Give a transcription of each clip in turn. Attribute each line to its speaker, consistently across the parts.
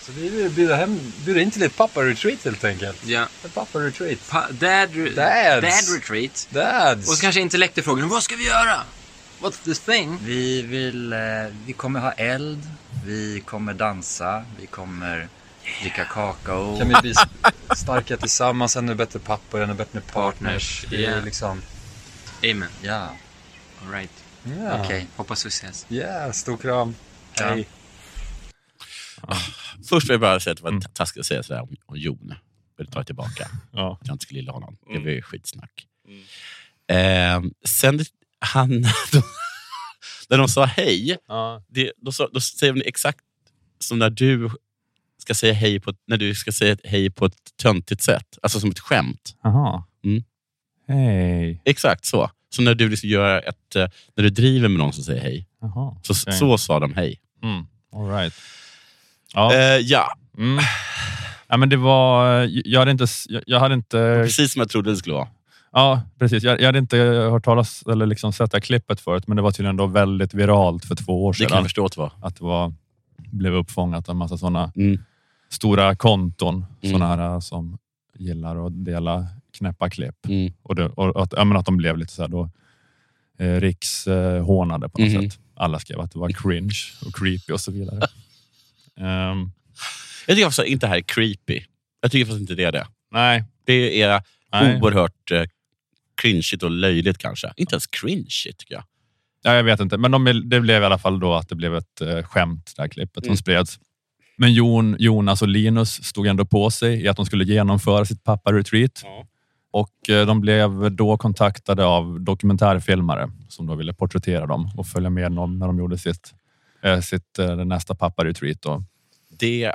Speaker 1: Så vi vill bjuda, hem, bjuda in till ett pappa-retreat helt enkelt.
Speaker 2: Ja.
Speaker 1: Ett pappa-retreat.
Speaker 2: Pa- dad, re-
Speaker 1: Dads.
Speaker 2: dad retreat.
Speaker 1: Dads!
Speaker 2: Och så kanske intellekter frågar, vad ska vi göra? What's this thing?
Speaker 3: Vi, vill, eh, vi kommer ha eld, vi kommer dansa, vi kommer dricka kakao.
Speaker 1: Kan vi bli s- starka tillsammans, ännu bättre pappor, ännu bättre partners. Det är
Speaker 2: Yeah.
Speaker 1: liksom...
Speaker 2: Amen.
Speaker 3: Ja,
Speaker 2: All right.
Speaker 1: Yeah.
Speaker 3: okej.
Speaker 2: Hoppas vi ses.
Speaker 1: Yeah, stor kram.
Speaker 3: Ja.
Speaker 1: Hej.
Speaker 4: Först vill jag bara säga att det
Speaker 5: Mm.
Speaker 4: var taskigt att säga sådär om, om Jon. Jag tar tillbaka.
Speaker 5: Ja.
Speaker 4: Att jag inte skulle gilla honom. Det
Speaker 5: Mm.
Speaker 4: var ju skitsnack. Eh, sen han... när de sa hej,
Speaker 5: Ja.
Speaker 4: det, då, sa, då säger de exakt som när du ska säga hej på, när du ska säga ett hej på ett töntigt sätt. Alltså som ett skämt.
Speaker 5: Jaha.
Speaker 4: Mm.
Speaker 5: Hej.
Speaker 4: Exakt så. Som när du liksom gör ett, eh, när du driver med någon som säger hej.
Speaker 5: Jaha.
Speaker 4: Så,
Speaker 5: Okej.
Speaker 4: så sa de hej.
Speaker 5: Mm. All right. Ja.
Speaker 4: Eh, ja,
Speaker 5: Mm. ja, men det var... Jag hade inte... s- Jag, jag hade inte
Speaker 4: precis som jag trodde det skulle vara.
Speaker 5: ja, precis. Jag, jag hade inte hört talas eller liksom sett det här klippet förut, men det var tydligen då väldigt viralt för två år
Speaker 4: Det kan jag
Speaker 5: sedan.
Speaker 4: förstå att det var.
Speaker 5: Att det var, blev uppfångat av en massa sådana
Speaker 4: Mm.
Speaker 5: stora konton.
Speaker 4: Mm.
Speaker 5: Sådana här äh, som gillar att dela knäppa klipp.
Speaker 4: Mm.
Speaker 5: Och, det, och att, ja, men att de blev lite så här då, eh, rikshånade på något
Speaker 4: Mhm.
Speaker 5: sätt. Alla skrev att det var cringe och creepy och så vidare. Ehm,
Speaker 4: Jag tycker faktiskt inte det här är creepy. Jag tycker faktiskt inte det är det.
Speaker 5: nej,
Speaker 4: Det är
Speaker 5: nej.
Speaker 4: oerhört eh, cringeigt och löjligt kanske. Inte ens cringeigt tycker jag.
Speaker 5: Ja, jag vet inte, men de, det blev i alla fall då att det blev ett eh, skämt, det här klippet som
Speaker 4: Mm.
Speaker 5: spreds. Men Jon, Jonas och Linus stod ändå på sig i att de skulle genomföra sitt pappa-retreat.
Speaker 4: Ja.
Speaker 5: Och eh, de blev då kontaktade av dokumentärfilmare som då ville porträttera dem och följa med dem när de gjorde sitt, eh, sitt eh, nästa pappa-retreat. Då.
Speaker 4: Det...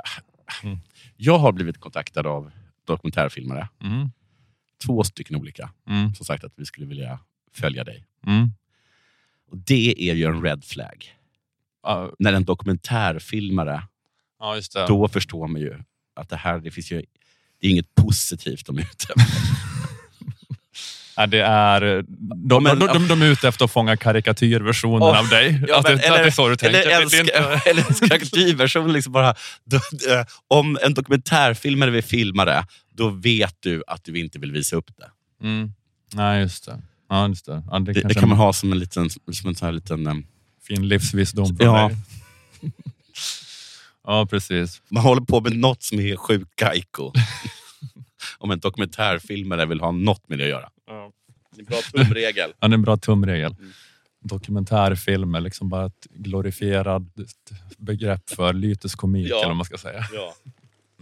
Speaker 4: Jag har blivit kontaktad av dokumentärfilmare.
Speaker 5: Mm.
Speaker 4: Två stycken olika.
Speaker 5: Mm.
Speaker 4: Som sagt att vi skulle vilja följa dig.
Speaker 5: Mm.
Speaker 4: Och det är ju en red flag.
Speaker 5: Ja,
Speaker 4: När en dokumentärfilmare,
Speaker 5: Ja, just det.
Speaker 4: då förstår man ju att det här det finns ju, det är inget positivt de är ute efter.
Speaker 5: Ja, det är, eh, de,
Speaker 4: men-
Speaker 5: de, de, de är ute efter att fånga karikatyrversionen
Speaker 4: Åh,
Speaker 5: av dig.
Speaker 4: Ja,
Speaker 5: att,
Speaker 4: men
Speaker 5: det, att det är så du tänker.
Speaker 4: Eller
Speaker 5: Det är inte-
Speaker 4: älskar, eller älskar kulturversion. Liksom bara, då, eh, om en dokumentärfilmare vill filma det, då vet du att du inte vill visa upp det.
Speaker 5: Mm. Nej, just det. Ja, just det. Ja, det,
Speaker 4: Det, det
Speaker 5: kanske
Speaker 4: kan man
Speaker 5: är
Speaker 4: ha som en liten... Som en sån här liten eh,
Speaker 5: en fin livsvisdom.
Speaker 4: Ja.
Speaker 5: dig. ja, precis.
Speaker 4: man håller på med något som är sjukt gaiko. om en dokumentärfilmare vill ha något med det att göra. Det är en bra tumregel.
Speaker 5: Ja, det är en bra tumregel. Dokumentärfilmer, liksom bara ett glorifierat begrepp för lyteskomik,
Speaker 4: Ja.
Speaker 5: eller vad man ska säga.
Speaker 4: ja.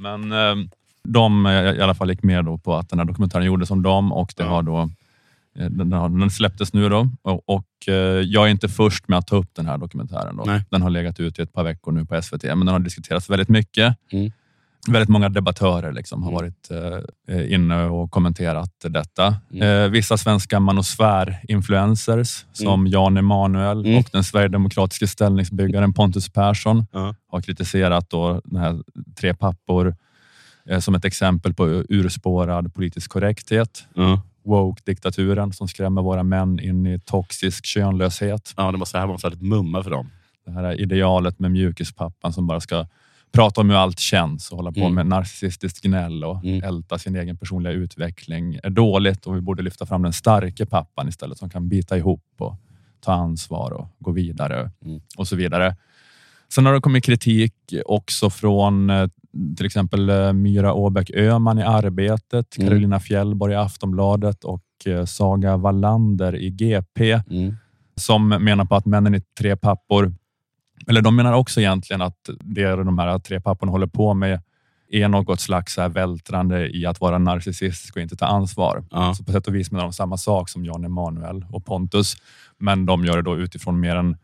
Speaker 5: Men eh, de eh, i alla fall gick med då på att den här dokumentären gjordes om dem och det
Speaker 4: Ja.
Speaker 5: har då, eh, den, har- den släpptes nu. då och, och eh, Jag är inte först med att ta upp den här dokumentären. Då.
Speaker 4: Nej.
Speaker 5: Den har legat ute i ett par veckor nu på SVT, men den har diskuterats väldigt mycket.
Speaker 4: Mm.
Speaker 5: Väldigt många debattörer liksom har
Speaker 4: Mm.
Speaker 5: varit eh, inne och kommenterat detta.
Speaker 4: Mm.
Speaker 5: Eh, vissa svenska manosfär-influencers som Jan Emanuel
Speaker 4: Mm.
Speaker 5: och den sverigedemokratiske ställningsbyggaren Pontus Persson
Speaker 4: Ja.
Speaker 5: har kritiserat då den här tre pappor eh, som ett exempel på urspårad politisk korrekthet.
Speaker 4: Ja.
Speaker 5: Woke-diktaturen som skrämmer våra män in i toxisk könlöshet.
Speaker 4: ja, det var så här man måste ha ett mumma för dem.
Speaker 5: Det här är idealet med mjukispappan som bara ska prata om hur allt känns och hålla på
Speaker 4: Mm.
Speaker 5: med narcissistiskt gnäll och
Speaker 4: Mm.
Speaker 5: älta sin egen personliga utveckling är dåligt och vi borde lyfta fram den starke pappan istället som kan bita ihop och ta ansvar och gå vidare
Speaker 4: Mm.
Speaker 5: och så vidare. Sen har det kommit kritik också från eh, till exempel eh, Myra Åbäck Öman i Arbetet,
Speaker 4: Mm.
Speaker 5: Carolina Fjällborg i Aftonbladet och eh, Saga Wallander i GP
Speaker 4: Mm.
Speaker 5: som menar på att männen är tre pappor. Eller de menar också egentligen att det de här tre papporna håller på med är något slags så här vältrande i att vara narcissistisk och inte ta ansvar.
Speaker 4: Ja.
Speaker 5: Så på sätt och vis menar de samma sak som Jan Emanuel och Pontus, men de gör det då utifrån mer en,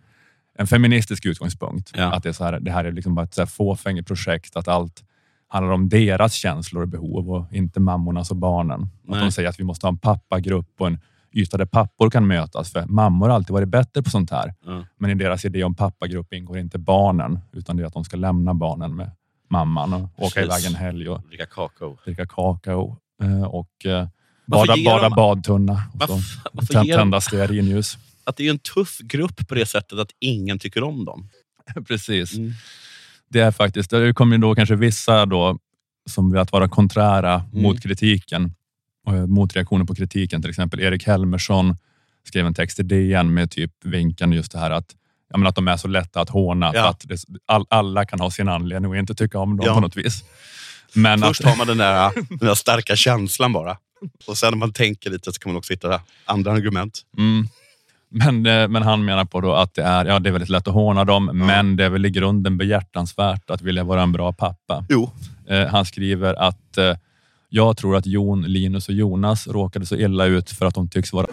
Speaker 5: en feministisk utgångspunkt.
Speaker 4: Ja.
Speaker 5: Att det, är så här, det här är liksom bara ett så här fåfängigt projekt, att allt handlar om deras känslor och behov och inte mammornas och barnen. Att
Speaker 4: Nej.
Speaker 5: de säger att vi måste ha en pappagrupp och en yta där pappor kan mötas, för mammor har alltid varit bättre på sånt här.
Speaker 4: Ja.
Speaker 5: Men i deras idé om pappagrupp ingår inte barnen, utan det är att de ska lämna barnen med mamman och åka
Speaker 4: Precis.
Speaker 5: iväg en helg och
Speaker 4: Dricka kakao.
Speaker 5: dricka kakao eh, och eh, bada,
Speaker 4: ger
Speaker 5: bada
Speaker 4: de-
Speaker 5: badtunna. Och så
Speaker 4: Varför, varför
Speaker 5: tän-
Speaker 4: ger de
Speaker 5: tända stearinljus.
Speaker 4: att det är en tuff grupp på det sättet att ingen tycker om dem.
Speaker 5: Precis.
Speaker 4: Mm.
Speaker 5: det är faktiskt, det kommer ju då kanske vissa då som vill att vara konträra
Speaker 4: Mm.
Speaker 5: mot kritiken och eh, motreaktioner på kritiken. Till exempel Erik Helmersson skrev en text i DN med typ vinkande just det här att Ja, men att de är så lätta att håna.
Speaker 4: Ja.
Speaker 5: För att det, all, alla kan ha sin anledning och inte tycka om dem
Speaker 4: Ja.
Speaker 5: på något vis. Men att,
Speaker 4: Först har man den där, äh, den där starka känslan bara. Och sen när man tänker lite så kan man också hitta andra argument.
Speaker 5: Mm. Men, eh, men han menar på då att det är, ja, det är väldigt lätt att håna dem, men det är väl i grunden behjärtansvärt att vilja vara en bra pappa.
Speaker 4: Jo,
Speaker 5: Eh, han skriver att eh, jag tror att Jon, Linus och Jonas råkade så illa ut för att de tycks vara...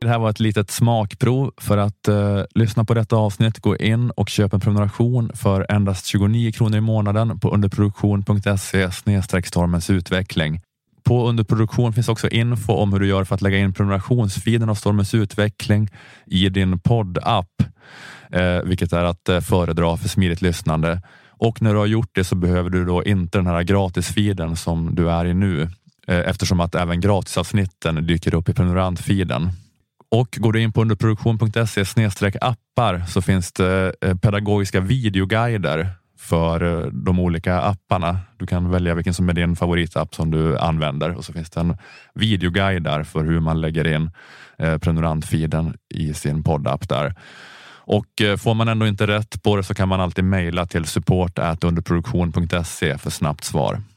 Speaker 5: Det här var ett litet smakprov. För att eh, lyssna på detta avsnitt, gå in och köp en prenumeration för endast 29 kronor i månaden på underproduktion.se stormens utveckling. På underproduktion finns också info om hur du gör för att lägga in prenumerationsfiden av stormens utveckling i din poddapp eh, vilket är att eh, föredra för smidigt lyssnande. Och när du har gjort det så behöver du då inte den här gratisfiden som du är i nu, eh, eftersom att även gratisavsnitten dyker upp i prenumerantfiden. Och går du in på underproduktion.se appar så finns det eh, pedagogiska videoguider för eh, de olika apparna. Du kan välja vilken som är din favoritapp som du använder och så finns det en videoguide där för hur man lägger in eh, prenumerantfiden i sin poddapp där. Och eh, får man ändå inte rätt på det så kan man alltid mejla till support underproduktion.se för snabbt svar.